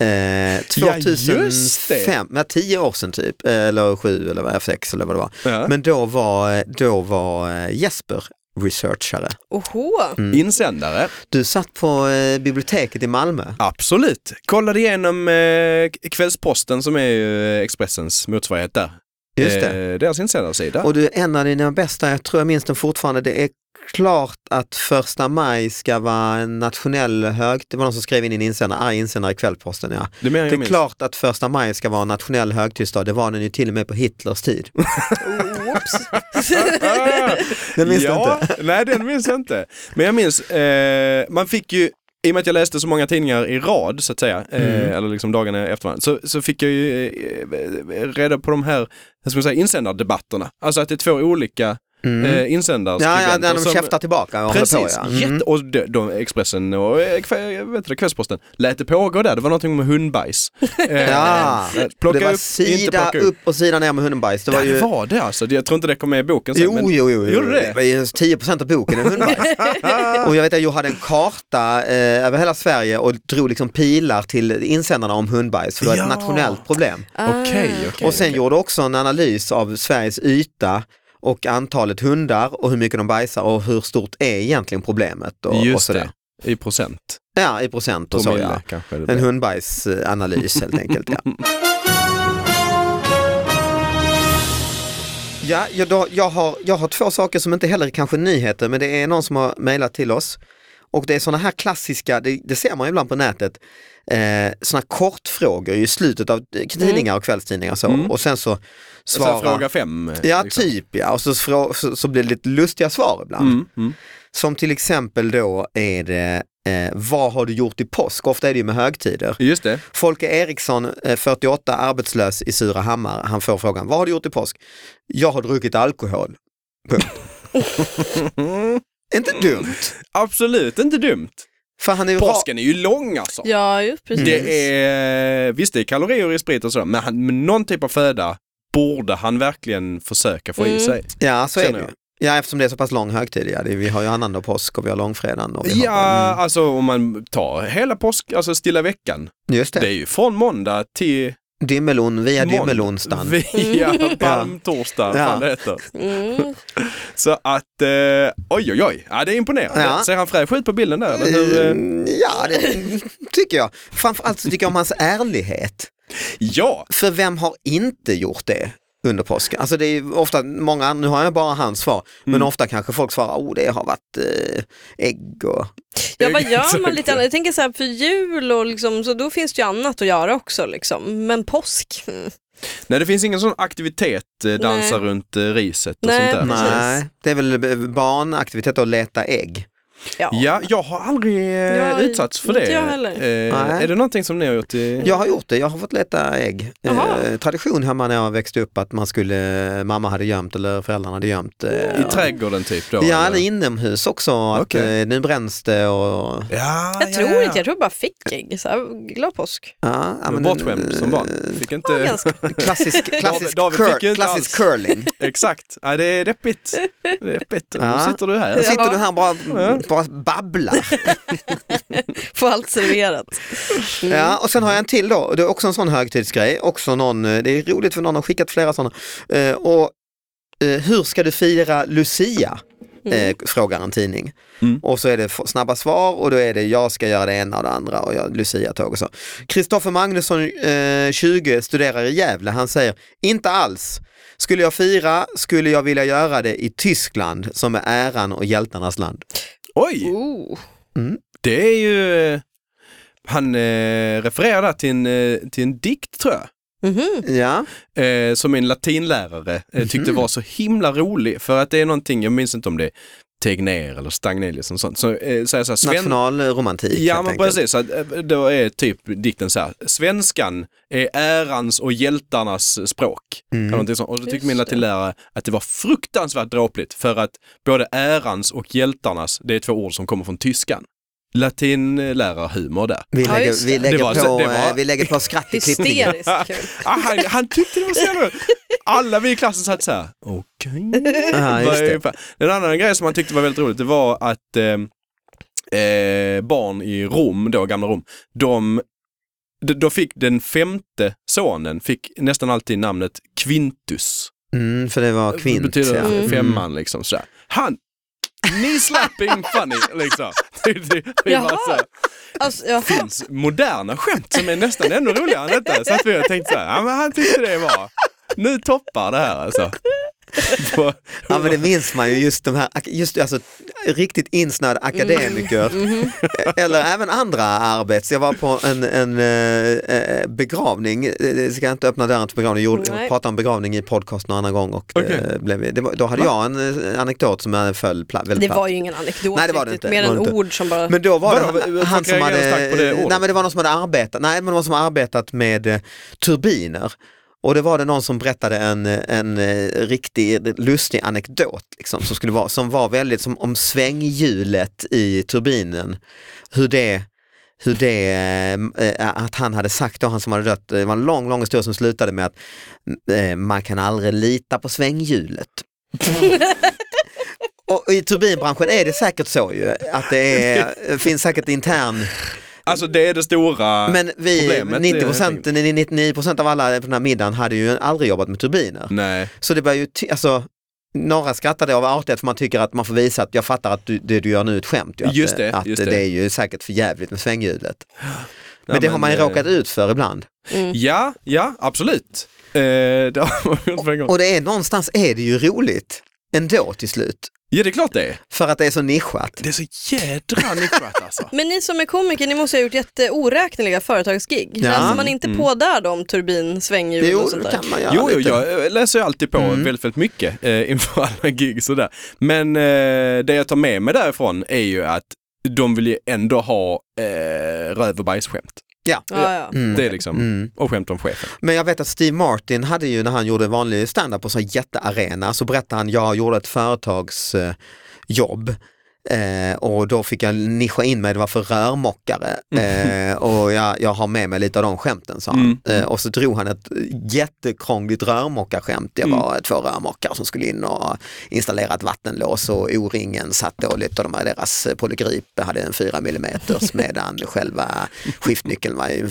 [SPEAKER 3] Eh,
[SPEAKER 4] just det.
[SPEAKER 3] 2005, ja, tio år sedan typ, eh, eller sju eller vad, sex eller vad det var.
[SPEAKER 4] Ja.
[SPEAKER 3] Men då var, eh, då var eh, Jesper researchare.
[SPEAKER 2] Oho,
[SPEAKER 3] Mm.
[SPEAKER 4] Insändare,
[SPEAKER 3] Du satt på eh, biblioteket i Malmö.
[SPEAKER 4] absolut. Kollade igenom eh, Kvällsposten som är ju eh, Expressens motsvarighet där.
[SPEAKER 3] Just det.
[SPEAKER 4] Eh, deras insändarsida.
[SPEAKER 3] Och du är en av dina bästa, jag tror jag minns den fortfarande, det är klart att första maj ska vara en nationell hög... Det var någon som skrev in en insändare, arg insändare i Kvällposten ja.
[SPEAKER 4] det är mer än
[SPEAKER 3] Det
[SPEAKER 4] jag
[SPEAKER 3] är
[SPEAKER 4] minns.
[SPEAKER 3] klart att första maj ska vara en nationell högtidsdag, det var den ju till och med på Hitlers tid.
[SPEAKER 2] whoops.
[SPEAKER 3] Det minns du
[SPEAKER 4] Ah, ja, inte. Nej, den minns jag inte. Men jag minns, eh, man fick ju, i och med att jag läste så många tidningar i rad så att säga,
[SPEAKER 3] Mm.
[SPEAKER 4] eh, eller liksom dagarna efter varandra, så, så fick jag ju eh, reda på de här, hur ska man säga, insändardebatterna. Alltså att det är två olika eh,
[SPEAKER 3] Mm. Ja,
[SPEAKER 4] insändarskribenter.
[SPEAKER 3] ja, när de
[SPEAKER 4] som-
[SPEAKER 3] käftar tillbaka. och
[SPEAKER 4] Precis,
[SPEAKER 3] håller på, ja. Mm.
[SPEAKER 4] jätte, och de, de, Expressen och eh, kve- vet du, det, Kvällsposten lät det pågå där, det var någonting med hundbajs. Eh,
[SPEAKER 3] Ja,
[SPEAKER 4] plocka
[SPEAKER 3] det var
[SPEAKER 4] upp, inte
[SPEAKER 3] sida
[SPEAKER 4] plocka upp.
[SPEAKER 3] upp och sida ner med hundbajs. Det var
[SPEAKER 4] Där
[SPEAKER 3] ju...
[SPEAKER 4] var det alltså, jag tror inte det kom med i boken sen.
[SPEAKER 3] Jo,
[SPEAKER 4] men-
[SPEAKER 3] jo, jo, jo.
[SPEAKER 4] Gjorde det?
[SPEAKER 3] var ju 10 av boken är hundbajs. och jag vet att jag hade en karta eh, över hela Sverige och drog liksom pilar till insändarna om hundbajs, för det var
[SPEAKER 4] Ja.
[SPEAKER 3] ett nationellt problem.
[SPEAKER 2] Ah,
[SPEAKER 4] Okej, okej.
[SPEAKER 3] Ah, och sen
[SPEAKER 4] okej.
[SPEAKER 3] gjorde också en analys av Sveriges yta och antalet hundar och hur mycket de bajsar och hur stort är egentligen problemet. Och, och
[SPEAKER 4] Just
[SPEAKER 3] sådär.
[SPEAKER 4] det, i procent.
[SPEAKER 3] Ja, i procent och så ja.
[SPEAKER 4] kanske det
[SPEAKER 3] En
[SPEAKER 4] blir.
[SPEAKER 3] hundbajsanalys helt enkelt. Ja. Ja, jag, då, jag, har, jag har två saker som inte heller är kanske nyheter, men det är någon som har mejlat till oss. Och det är sådana här klassiska, det, det ser man ju ibland på nätet, eh, sådana kortfrågor i slutet av tidningar och kvällstidningar. Så. Mm. Och sen så
[SPEAKER 4] Så här,
[SPEAKER 3] svarar...
[SPEAKER 4] fråga fem.
[SPEAKER 3] ja,
[SPEAKER 4] liksom.
[SPEAKER 3] typ ja. Och så, Mm. frå, så, så blir det lite lustiga svar ibland.
[SPEAKER 4] Mm, mm.
[SPEAKER 3] Som till exempel då är det eh, vad har du gjort i påsk? Ofta är det ju med högtider.
[SPEAKER 4] Just det.
[SPEAKER 3] Folke Eriksson, eh, 48, arbetslös i Surahammar, han får frågan, vad har du gjort i påsk? Jag har druckit alkohol. Punkt. Inte
[SPEAKER 4] Mm.
[SPEAKER 3] dumt,
[SPEAKER 4] Absolut, inte dumt.
[SPEAKER 3] för han är ju ra-
[SPEAKER 4] Påsken är ju lång alltså.
[SPEAKER 2] Ja, ju precis.
[SPEAKER 4] Det är, visst det är kalorier i sprit och sådär, men, han, men någon typ av föda borde han verkligen försöka få i
[SPEAKER 2] Mm.
[SPEAKER 4] sig.
[SPEAKER 3] Ja, så är
[SPEAKER 4] Känner
[SPEAKER 3] det ju. Ja, eftersom det är så pass lång högtid. Ja. Det- Vi har ju annandag påsk och vi har långfredagen. Och vi
[SPEAKER 4] Ja,
[SPEAKER 3] har, Mm,
[SPEAKER 4] alltså om man tar hela påsk, alltså stilla veckan.
[SPEAKER 3] Mm. just
[SPEAKER 4] Det
[SPEAKER 3] det.
[SPEAKER 4] är ju från måndag till
[SPEAKER 3] Dimmelon via
[SPEAKER 4] Måndag.
[SPEAKER 3] dimmelonsdagen.
[SPEAKER 4] via palmtorsdag,
[SPEAKER 3] Ja.
[SPEAKER 4] fan det heter.
[SPEAKER 2] Mm.
[SPEAKER 4] Så att, eh, oj oj oj, ja, det är imponerande.
[SPEAKER 3] Ja.
[SPEAKER 4] Ser han fräsch ut på bilden där? Eller hur, eh,
[SPEAKER 3] Mm, Ja, det tycker jag. Framförallt så tycker jag om hans ärlighet.
[SPEAKER 4] ja,
[SPEAKER 3] För vem har inte gjort det under påsken? Alltså det är ju ofta många, nu har jag bara hans svar, men
[SPEAKER 4] Mm.
[SPEAKER 3] ofta kanske folk svarar, oh det har varit eh, ägg och...
[SPEAKER 2] Ja, vad gör man
[SPEAKER 4] Exakt.
[SPEAKER 2] lite annat? Jag tänker så här för jul och liksom, så då finns det ju annat att göra också liksom. Men påsk? mm.
[SPEAKER 4] nej det finns ingen sån aktivitet, eh, dansa runt eh, riset och
[SPEAKER 2] Nej,
[SPEAKER 4] sånt där.
[SPEAKER 2] precis.
[SPEAKER 3] Nej, det är väl barnaktivitet att leta ägg.
[SPEAKER 2] Ja.
[SPEAKER 4] Ja, jag har aldrig eh,
[SPEAKER 2] Jag-
[SPEAKER 4] utsatts för
[SPEAKER 2] inte
[SPEAKER 4] det.
[SPEAKER 2] jag heller.
[SPEAKER 4] Eh,
[SPEAKER 3] Nej.
[SPEAKER 4] är det någonting som ni har gjort? I...
[SPEAKER 3] Jag har gjort det, jag har fått leta ägg.
[SPEAKER 2] Jaha.
[SPEAKER 3] Eh, tradition hemma när jag växte upp att man skulle, mamma hade gömt eller föräldrarna hade gömt. eh,
[SPEAKER 4] I trädgården typ då?
[SPEAKER 3] Ja,
[SPEAKER 4] eller?
[SPEAKER 3] eller inomhus också, att
[SPEAKER 4] Okej.
[SPEAKER 3] eh, nu bränns det och...
[SPEAKER 4] Ja,
[SPEAKER 2] Jag
[SPEAKER 4] ja,
[SPEAKER 2] tror
[SPEAKER 4] ja.
[SPEAKER 2] inte, jag tror jag bara fick ägg. Så här, glad påsk.
[SPEAKER 3] Ja, ja, men- eh,
[SPEAKER 4] Bortskämd som barn. Fick
[SPEAKER 2] Ja,
[SPEAKER 4] inte...
[SPEAKER 2] ganska.
[SPEAKER 3] Klassisk,
[SPEAKER 4] David-
[SPEAKER 3] klassisk,
[SPEAKER 4] David
[SPEAKER 3] cur,
[SPEAKER 4] fick ju inte
[SPEAKER 3] klassisk curling.
[SPEAKER 4] Exakt, ja, det är deppigt. Det är deppigt.
[SPEAKER 3] Ja.
[SPEAKER 4] Nu sitter du här.
[SPEAKER 3] Då sitter
[SPEAKER 2] Ja.
[SPEAKER 3] du här och bara, bara babblar.
[SPEAKER 2] Få allt serverat. Mm.
[SPEAKER 3] Ja, och sen har jag en till då, det är också en sån högtidsgrej, också någon, eh, det är roligt för någon har skickat flera sådana. Eh, och eh, hur ska du fira Lucia?
[SPEAKER 2] Mm.
[SPEAKER 3] Eh, frågar en tidning.
[SPEAKER 4] Mm.
[SPEAKER 3] Och så är det f- snabba svar och då är det jag ska göra det ena och det andra och jag, Lucia-tåg och så. Kristoffer Magnusson, eh, 20, studerar i Gävle. Han säger, inte alls. Skulle jag fira skulle jag vilja göra det i Tyskland som är äran och hjältarnas land.
[SPEAKER 4] Oj,
[SPEAKER 2] Oh.
[SPEAKER 4] det är ju... eh, Han eh, refererar där till en, eh, till en dikt tror jag.
[SPEAKER 2] Mhm.
[SPEAKER 3] Ja,
[SPEAKER 4] eh, som min latinlärare eh, tyckte
[SPEAKER 3] Mhm.
[SPEAKER 4] var så himla rolig för att det är någonting, jag minns inte om det är Tegnér eller Stagnelius och sånt, så eh, säger så här, sven-
[SPEAKER 3] nationalromantik
[SPEAKER 4] Ja
[SPEAKER 3] helt
[SPEAKER 4] men
[SPEAKER 3] enkelt.
[SPEAKER 4] precis, så att, eh, då är typ dikten så här, svenskan är ärans och hjältarnas språk.
[SPEAKER 3] Mm.
[SPEAKER 4] Eller någonting sånt. Och då tyckte
[SPEAKER 2] Just
[SPEAKER 4] min
[SPEAKER 2] det.
[SPEAKER 4] latinlärare att det var fruktansvärt dråpligt för att både ärans och hjältarnas, det är två ord som kommer från tyskan. Latinlärarhumor där.
[SPEAKER 3] Vi
[SPEAKER 2] Ja,
[SPEAKER 3] lägger,
[SPEAKER 2] just det.
[SPEAKER 3] vi lägger,
[SPEAKER 4] Det var-
[SPEAKER 3] på,
[SPEAKER 4] det var-
[SPEAKER 3] eh, vi lägger på skratt i klippningen.
[SPEAKER 2] Hysteriskt kul.
[SPEAKER 4] Ah, han, han tyckte det var så jävla roligt. Alla vi i klassen satt så här, okej.
[SPEAKER 3] Ja, just
[SPEAKER 4] Vad är
[SPEAKER 3] det.
[SPEAKER 4] fan? Den andra grejen som han tyckte var väldigt roligt, det var att eh, eh, barn i Rom, då gamla Rom, de, d- då fick den femte sonen, fick nästan alltid namnet Quintus.
[SPEAKER 3] Mm, för det var kvint.
[SPEAKER 4] det betyder
[SPEAKER 3] ja.
[SPEAKER 2] Mm.
[SPEAKER 4] femman liksom sådär. Han, knee slapping funny liksom. Det, det, det var
[SPEAKER 2] Jaha.
[SPEAKER 4] så här
[SPEAKER 2] Alltså, ja.
[SPEAKER 4] finns moderna skämt som är nästan ännu roligare än detta. Så att vi har tänkt så här, ja men han tyckte det var, nu toppar det här alltså. På,
[SPEAKER 3] Mm. Ja men det minns man ju, just de här ak- just, alltså, riktigt insnöade
[SPEAKER 4] Mm.
[SPEAKER 3] akademiker
[SPEAKER 4] Mm-hmm.
[SPEAKER 3] eller även andra arbets. Jag var på en, en eh, eh, begravning, Eh, jag ska inte öppna dörren till begravning, jag gjorde-
[SPEAKER 2] Nej.
[SPEAKER 3] jag pratade om begravning i podcast någon annan gång och det
[SPEAKER 4] Okej.
[SPEAKER 3] blev, det var, då hade jag en eh, anekdot som jag föll pla- väldigt
[SPEAKER 2] Det
[SPEAKER 3] platt.
[SPEAKER 2] var ju ingen anekdot
[SPEAKER 3] Nej, det var det
[SPEAKER 2] riktigt,
[SPEAKER 3] inte.
[SPEAKER 2] mer
[SPEAKER 3] Det var
[SPEAKER 2] än
[SPEAKER 3] det inte.
[SPEAKER 2] ord som bara...
[SPEAKER 3] Men då var
[SPEAKER 4] Vadå?
[SPEAKER 3] det han, han
[SPEAKER 4] Folk
[SPEAKER 3] som
[SPEAKER 4] reagerade
[SPEAKER 3] hade,
[SPEAKER 4] starkt på det ordet.
[SPEAKER 3] nej men det var någon som hade arbetat, nej men det var någon som arbetat med eh, turbiner och det var det någon som berättade en, eh, en eh, riktig lustig anekdot liksom, som, skulle vara, som var väldigt som om svänghjulet i turbinen, hur det hur det, eh, eh, att han hade sagt då, han som hade dött, det var en lång, lång historia som slutade med att eh, man kan aldrig lita på svänghjulet. Och i turbinbranschen är det säkert så ju, att det är, finns säkert intern,
[SPEAKER 4] alltså det är det stora,
[SPEAKER 3] men vi,
[SPEAKER 4] Problemet är
[SPEAKER 3] 90
[SPEAKER 4] helt
[SPEAKER 3] procent, 99 procent av alla på den här middagen hade ju aldrig jobbat med turbiner.
[SPEAKER 4] nej,
[SPEAKER 3] Så det var ju, ty- alltså, några skrattade av artighet för man tycker att man får visa att jag fattar att du, det du gör nu är ett skämt. Ju, att,
[SPEAKER 4] Just det,
[SPEAKER 3] att
[SPEAKER 4] just det.
[SPEAKER 3] det är ju säkert för jävligt med svänghjulet. Men
[SPEAKER 4] Ja,
[SPEAKER 3] det har
[SPEAKER 4] men,
[SPEAKER 3] man ju
[SPEAKER 4] eh,
[SPEAKER 3] råkat ut för ibland.
[SPEAKER 4] ja, ja absolut. Eh, det har man gjort på en gång.
[SPEAKER 3] Och det är, någonstans är det ju roligt ändå till slut.
[SPEAKER 4] Ja det är klart det är.
[SPEAKER 3] För att det är så nischat.
[SPEAKER 4] Det är så jädra nischat alltså.
[SPEAKER 2] Men ni som är komiker, ni måste ha gjort jätteoräkneliga företagsgig.
[SPEAKER 3] Ja. Mm.
[SPEAKER 2] Läser man inte på där då om turbin, svänghjul
[SPEAKER 3] Jo,
[SPEAKER 2] och sånt
[SPEAKER 3] det
[SPEAKER 2] där?
[SPEAKER 3] kan man göra
[SPEAKER 4] Jo, jo,
[SPEAKER 3] lite.
[SPEAKER 4] jag eh, läser ju alltid på väldigt, väldigt mycket eh, inför alla gig sådär. Men eh, det jag tar med mig därifrån är ju att de vill ju ändå ha eh, röv och bajsskämt.
[SPEAKER 3] Ja.
[SPEAKER 2] Ja, ja.
[SPEAKER 3] Mm.
[SPEAKER 4] Det är liksom,
[SPEAKER 3] Mm.
[SPEAKER 4] och skämt om chefen.
[SPEAKER 3] Men jag vet att Steve Martin hade ju när han gjorde vanlig standup på en sån här jättearena så berättade han, jag gjorde ett företagsjobb eh, jobb. eh, och då fick jag nischa in mig, det var för rörmokare. Eh, och jag, jag har med mig lite av de skämten sa han. Eh, och så drog han ett jättekrångligt rörmokarskämt. Det var två rörmokare som skulle in och installera ett vattenlås och O-ringen satt dåligt och de här, deras polygrip hade en 4 millimeters medan själva skiftnyckeln var ju en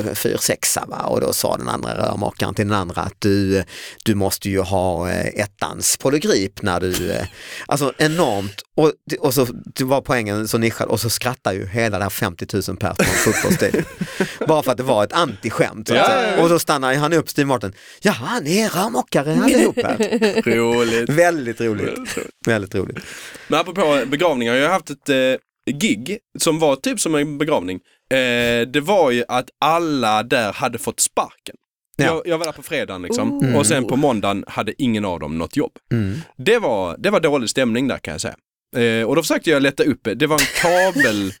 [SPEAKER 3] 4-6 va? och då sa den andra rörmokaren till den andra att du, du måste ju ha eh, ettans polygrip när du, eh, alltså enormt och, och så det var poängen så nischad och så skrattar ju hela det här 50 000 pers på en fotbollsstadion. Bara för att det var ett antiskämt. så att
[SPEAKER 4] Ja,
[SPEAKER 3] säga.
[SPEAKER 4] ja, ja.
[SPEAKER 3] Och då stannar han upp, Steve Martin. Jaha, ni är rörmokare allihopa.
[SPEAKER 4] Roligt.
[SPEAKER 3] Väldigt roligt. Väldigt roligt.
[SPEAKER 4] Men apropå begravningar, jag har haft ett eh, gig som var typ som en begravning. Eh, det var ju att alla där hade fått sparken.
[SPEAKER 3] Ja.
[SPEAKER 4] Jag, jag var där på fredagen liksom
[SPEAKER 2] Ooh.
[SPEAKER 4] och sen på måndagen hade ingen av dem något jobb.
[SPEAKER 3] Mm.
[SPEAKER 4] Det var, det var dålig stämning där kan jag säga. Eh, och då försökte jag leta upp, det var en kabel,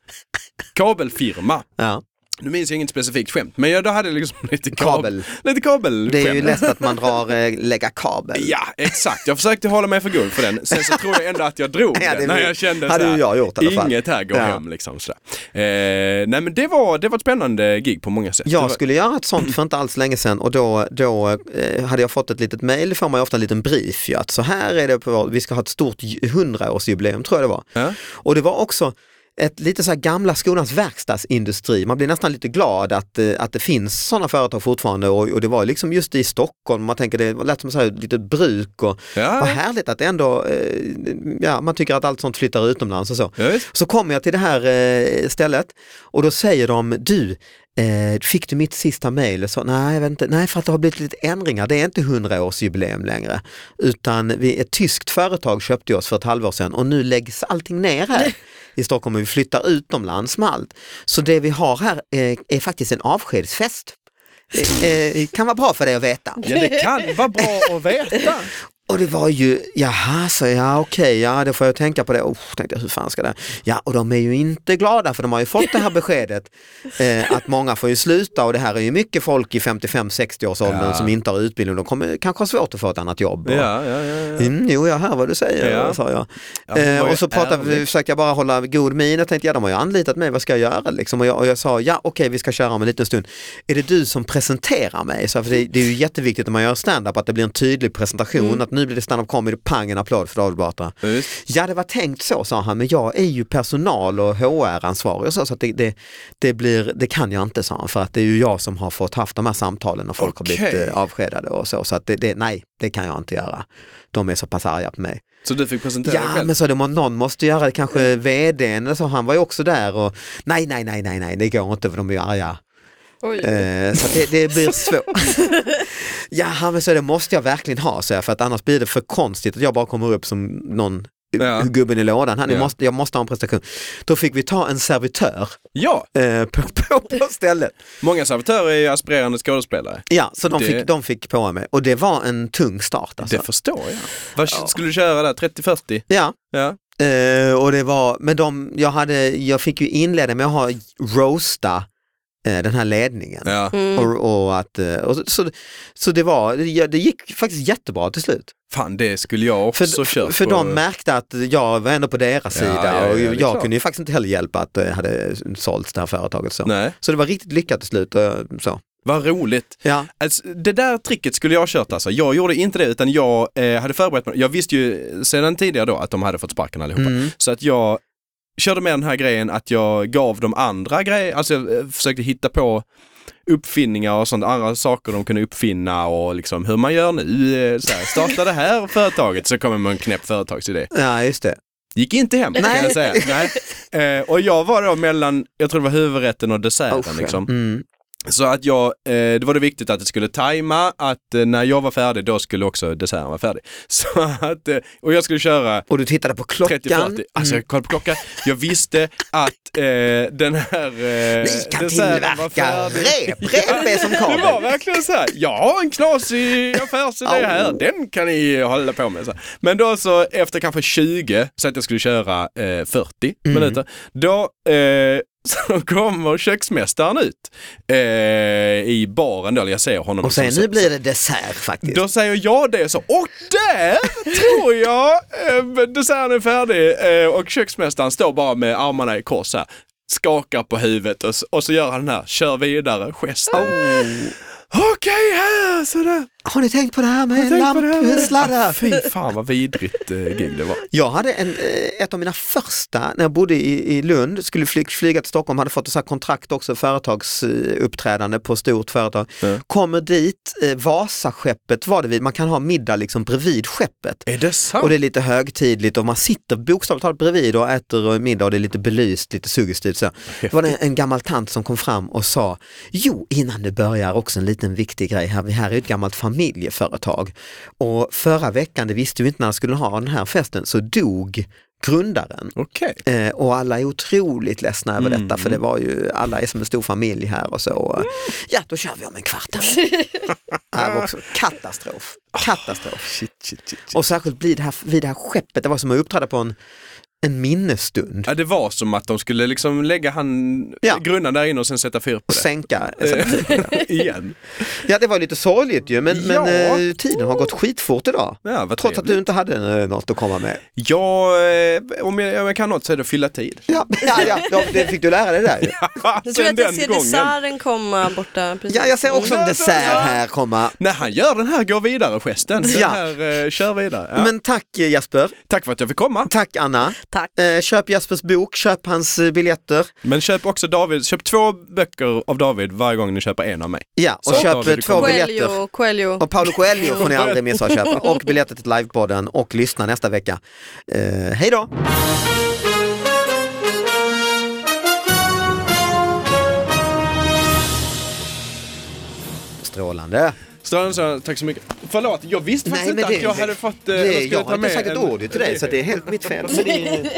[SPEAKER 4] kabelfirma.
[SPEAKER 3] Ja.
[SPEAKER 4] Nu minns jag inget specifikt skämt, men jag, då hade jag liksom lite
[SPEAKER 3] Kabel.
[SPEAKER 4] kabel. Lite kabel
[SPEAKER 3] Det är ju lätt att man drar eh, lägga kabel.
[SPEAKER 4] Ja, exakt. Jag försökte hålla mig för god för den. Sen så tror jag ändå att jag drog
[SPEAKER 3] Ja, det
[SPEAKER 4] den när
[SPEAKER 3] vill-
[SPEAKER 4] jag kände
[SPEAKER 3] hade
[SPEAKER 4] så här,
[SPEAKER 3] ju jag gjort i alla fall.
[SPEAKER 4] inget här går
[SPEAKER 3] Ja.
[SPEAKER 4] hem liksom. Så där. eh, nej men det var, det var ett spännande gig på många sätt. det var,
[SPEAKER 3] Jag skulle göra ett sånt för inte alls länge sedan och då, då eh, hade jag fått ett litet mejl, får man ju ofta en liten brief ju, att så här är det, på, vi ska ha ett stort ju- 100-årsjubileum tror jag det var.
[SPEAKER 4] Ja.
[SPEAKER 3] Och det var också ett lite så här gamla skolans verkstadsindustri. Man blir nästan lite glad att, eh, att det finns sådana företag fortfarande och, och det var liksom just i Stockholm, man tänker det lät som så här litet bruk och vad
[SPEAKER 4] ja,
[SPEAKER 3] härligt att det ändå, eh, ja man tycker att allt sånt flyttar utomlands och så.
[SPEAKER 4] ja, visst.
[SPEAKER 3] Så kommer jag till det här eh, stället och då säger de, du, eh, fick du mitt sista mejl? Så, Nej, jag vet inte. Nej, för att det har blivit lite ändringar. Det är inte 100-årsjubileum längre. Utan vi, ett tyskt företag köpte oss för ett halvår sedan och nu läggs allting ner här i Stockholm och vi flyttar utomlands med allt. Så det vi har här eh, är faktiskt en avskedsfest. Eh, eh, kan vara bra för dig att veta.
[SPEAKER 4] ja, det kan vara bra att veta.
[SPEAKER 3] Och det var ju, jaha, så ja okej, ja det får jag tänka på det. Oh, tänkte jag, hur fan ska det? Ja, och de är ju inte glada för de har ju fått det här beskedet eh, att många får ju sluta och det här är ju mycket folk i 55-60-årsåldern
[SPEAKER 4] Ja.
[SPEAKER 3] som inte har utbildning. De kommer kanske ha svårt att få ett annat jobb. Och-
[SPEAKER 4] Ja, ja, ja. ja.
[SPEAKER 3] Mm, jo, jag hör vad du säger,
[SPEAKER 4] Eh, Ja.
[SPEAKER 3] sa jag.
[SPEAKER 4] Ja, men det var
[SPEAKER 3] eh,
[SPEAKER 4] ju
[SPEAKER 3] och så pratade, vi-
[SPEAKER 4] ärligt.
[SPEAKER 3] försökte jag bara hålla god min. Jag tänkte, ja de har ju anlitat mig, vad ska jag göra? Liksom. Och, jag, och jag sa, ja okej vi ska köra om en liten stund. Är det du som presenterar mig? Så, för det, det är ju jätteviktigt när man gör stand-up att det blir en tydlig presentation, att nu blir det stand-up comedy, pang en applåd för David Batra.
[SPEAKER 4] Mm. Ja, visst.
[SPEAKER 3] Ja det var tänkt så sa han, men jag är ju personal och HR-ansvarig och så, så att det, det, det, blir, det kan jag inte sa han, för att det är ju jag som har fått haft de här samtalen och folk har
[SPEAKER 4] Okej.
[SPEAKER 3] blivit eh, avskedade och så, så att det, det, nej, det kan jag inte göra. De är så pass arga på mig.
[SPEAKER 4] Så du fick presentera dig
[SPEAKER 3] Ja,
[SPEAKER 4] själv?
[SPEAKER 3] men så det, må- någon måste göra det, kanske vdn eller så, han var ju också där och nej, nej, nej, nej, nej, det går inte för de är ju arga.
[SPEAKER 2] Oj.
[SPEAKER 3] Eh, så att det, det blir svårt. ja, men så det måste jag verkligen ha, så jag, för att annars blir det för konstigt att jag bara kommer upp som någon
[SPEAKER 4] Ja.
[SPEAKER 3] gubben i lådan, han, jag,
[SPEAKER 4] Ja.
[SPEAKER 3] måste, jag måste ha en prestation. Då fick vi ta en servitör
[SPEAKER 4] Ja,
[SPEAKER 3] eh, på, på, på stället.
[SPEAKER 4] många servitörer är ju aspirerande skådespelare.
[SPEAKER 3] Ja, så de
[SPEAKER 4] Det-
[SPEAKER 3] fick, de fick på mig och det var en tung start. Alltså.
[SPEAKER 4] Det förstår jag. Vad skulle du köra där? 30-40?
[SPEAKER 3] Ja,
[SPEAKER 4] Ja.
[SPEAKER 3] Eh, och det var, men de, jag, hade, jag fick ju inleda med att ha roasta eh, den här ledningen.
[SPEAKER 4] ja.
[SPEAKER 2] Mm.
[SPEAKER 3] Och, och att, eh, och så, så, så det, var, ja, det gick faktiskt jättebra till slut.
[SPEAKER 4] Fan, det skulle jag
[SPEAKER 3] För,
[SPEAKER 4] också kört
[SPEAKER 3] för
[SPEAKER 4] på.
[SPEAKER 3] de märkte att jag var ändå på deras sida
[SPEAKER 4] ja, ja,
[SPEAKER 3] och
[SPEAKER 4] det är
[SPEAKER 3] jag
[SPEAKER 4] klart.
[SPEAKER 3] kunde ju faktiskt inte heller hjälpa att det hade sålts det här företaget. Så.
[SPEAKER 4] Nej,
[SPEAKER 3] så det var riktigt lyckat till slut. eh, Så.
[SPEAKER 4] vad roligt.
[SPEAKER 3] Ja.
[SPEAKER 4] Alltså, det där tricket skulle jag ha kört alltså. Jag gjorde inte det utan jag eh, hade förberett mig. Jag visste ju sedan tidigare då att de hade fått sparken allihopa.
[SPEAKER 3] Mm.
[SPEAKER 4] Så att jag körde med den här grejen att jag gav dem andra grejer, alltså jag eh, försökte hitta på uppfinningar och sånt, andra saker de kunde uppfinna och liksom hur man gör nu, eh, så här, starta det här företaget så kommer man en knäpp företagsidé.
[SPEAKER 3] ja, just det.
[SPEAKER 4] Gick inte hem
[SPEAKER 3] Nej.
[SPEAKER 4] kan jag säga. Nej. Eh, och jag var då mellan, jag tror det var huvudrätten och desserten
[SPEAKER 3] Usch, ja.
[SPEAKER 4] liksom.
[SPEAKER 3] Mm.
[SPEAKER 4] Så att jag, eh, det var det viktigt att det skulle tajma, att eh, när jag var färdig då skulle också desserten vara färdig. Så att, eh, och jag skulle köra
[SPEAKER 3] Och du tittade på klockan. Mm.
[SPEAKER 4] 30-40, alltså jag kollade på klockan, jag visste att eh, den här eh,
[SPEAKER 3] Vi kan tillverka reprep som
[SPEAKER 4] Det var
[SPEAKER 3] kabel.
[SPEAKER 4] verkligen så här, jag har en knasig affärsidé här, den kan ni hålla på med. Så här. Men då så efter kanske 20, så att jag skulle köra eh, 40
[SPEAKER 3] Mm.
[SPEAKER 4] minuter, då eh, så kommer köksmästaren ut eh, i baren då, eller jag ser honom.
[SPEAKER 3] Och sen
[SPEAKER 4] liksom
[SPEAKER 3] nu
[SPEAKER 4] så-
[SPEAKER 3] blir det dessert faktiskt.
[SPEAKER 4] då säger jag det så, och där tror jag eh, desserten är färdig eh, och köksmästaren står bara med armarna i kors så här, skakar på huvudet och så, och så gör han den här kör vidare gesten. Okej, här sådär.
[SPEAKER 3] Har ni tänkt på det här med
[SPEAKER 4] Tänk på det här. Ah,
[SPEAKER 3] lampsladdar?
[SPEAKER 4] Fy fan vad vidrigt eh, gig det var.
[SPEAKER 3] Jag hade en, eh, ett av mina första, när jag bodde i, i Lund, skulle fly, flyga till Stockholm, hade fått ett så här kontrakt också, företagsuppträdande på stort företag.
[SPEAKER 4] Mm.
[SPEAKER 3] Kommer dit, eh, Vasaskeppet var det vid, man kan ha middag liksom bredvid skeppet.
[SPEAKER 4] Är det
[SPEAKER 3] Och
[SPEAKER 4] sant?
[SPEAKER 3] det är lite högtidligt och man sitter bokstavligt talat bredvid och äter middag och det är lite belyst, lite suggestivt. Så. Det var det en gammal tant som kom fram och sa, jo innan du börjar också en liten viktig grej här, vi här är ett gammalt familjeföretag och förra veckan, det visste vi inte när vi skulle ha den här festen, så dog grundaren.
[SPEAKER 4] Okej.
[SPEAKER 3] Eh, och alla är otroligt ledsna över detta för det var ju, alla är som en stor familj här och så. Och, ja, då kör vi om en kvart. här." det var också katastrof. Katastrof. Och särskilt blir det här, vid det här skeppet, det var som att uppträda på en, en minnesstund.
[SPEAKER 4] Ja, det var som att de skulle liksom lägga han,
[SPEAKER 3] Ja.
[SPEAKER 4] grunden där inne och sen sätta fyr på
[SPEAKER 3] Och
[SPEAKER 4] det. Eh.
[SPEAKER 3] sänka. Alltså,
[SPEAKER 4] Igen.
[SPEAKER 3] Ja det var lite sorgligt ju men,
[SPEAKER 4] Ja.
[SPEAKER 3] men eh, tiden har gått skitfort idag.
[SPEAKER 4] Ja, vad
[SPEAKER 3] Trots att du inte hade eh, något att komma med.
[SPEAKER 4] Jag, eh, om jag, om jag kan något så är det att fylla tid.
[SPEAKER 3] Ja, ja, ja ja, det fick du lära dig där ju.
[SPEAKER 2] Nu tror jag att jag ser desserten komma borta. Precis. Mm.
[SPEAKER 3] Ja, jag ser också en
[SPEAKER 4] Ja,
[SPEAKER 3] dessert
[SPEAKER 4] så-
[SPEAKER 3] här komma.
[SPEAKER 4] När han gör den här gå vidare-gesten, den
[SPEAKER 3] Ja.
[SPEAKER 4] här eh, kör vidare. Ja.
[SPEAKER 3] Men tack eh, Jesper,
[SPEAKER 4] Tack för att jag fick komma.
[SPEAKER 3] tack Anna.
[SPEAKER 2] Tack.
[SPEAKER 3] Eh, köp Jespers bok, köp hans eh, biljetter.
[SPEAKER 4] Men köp också David, köp två böcker av David varje gång ni köper en av mig.
[SPEAKER 3] Ja, och
[SPEAKER 4] Så,
[SPEAKER 3] köp
[SPEAKER 4] David,
[SPEAKER 3] eh,
[SPEAKER 4] du
[SPEAKER 3] två
[SPEAKER 4] kommer.
[SPEAKER 3] biljetter.
[SPEAKER 2] Coelho, Coelho.
[SPEAKER 3] Och Paolo Coelho får ni aldrig missa att köpa. Och biljetter till livepodden och lyssna nästa vecka. Eh, hej då! Strålande.
[SPEAKER 4] Strålande, så, tack så mycket. Förlåt, jag visste faktiskt inte att jag hade fått... eh, jag
[SPEAKER 3] det,
[SPEAKER 4] skulle
[SPEAKER 3] jag
[SPEAKER 4] ta
[SPEAKER 3] har inte
[SPEAKER 4] med
[SPEAKER 3] sagt ett
[SPEAKER 4] en-
[SPEAKER 3] ord till dig så det är helt mitt fel.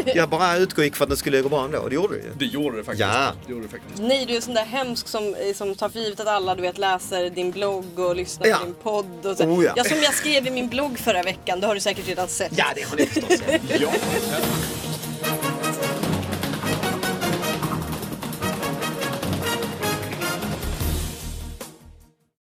[SPEAKER 3] jag bara utgick för att det skulle gå bra ändå, och det gjorde det ju.
[SPEAKER 4] Det gjorde det faktiskt.
[SPEAKER 3] Ja.
[SPEAKER 4] Det gjorde det faktiskt.
[SPEAKER 2] Nej, du är sån där hemsk som, eh, som tar för givet att alla du vet, läser din blogg och lyssnar
[SPEAKER 3] Ja.
[SPEAKER 2] på din podd. Och så.
[SPEAKER 3] Oh, ja.
[SPEAKER 2] som jag skrev i min blogg förra veckan, det har du säkert redan sett.
[SPEAKER 3] Ja, det har ni förstås.
[SPEAKER 4] Ja.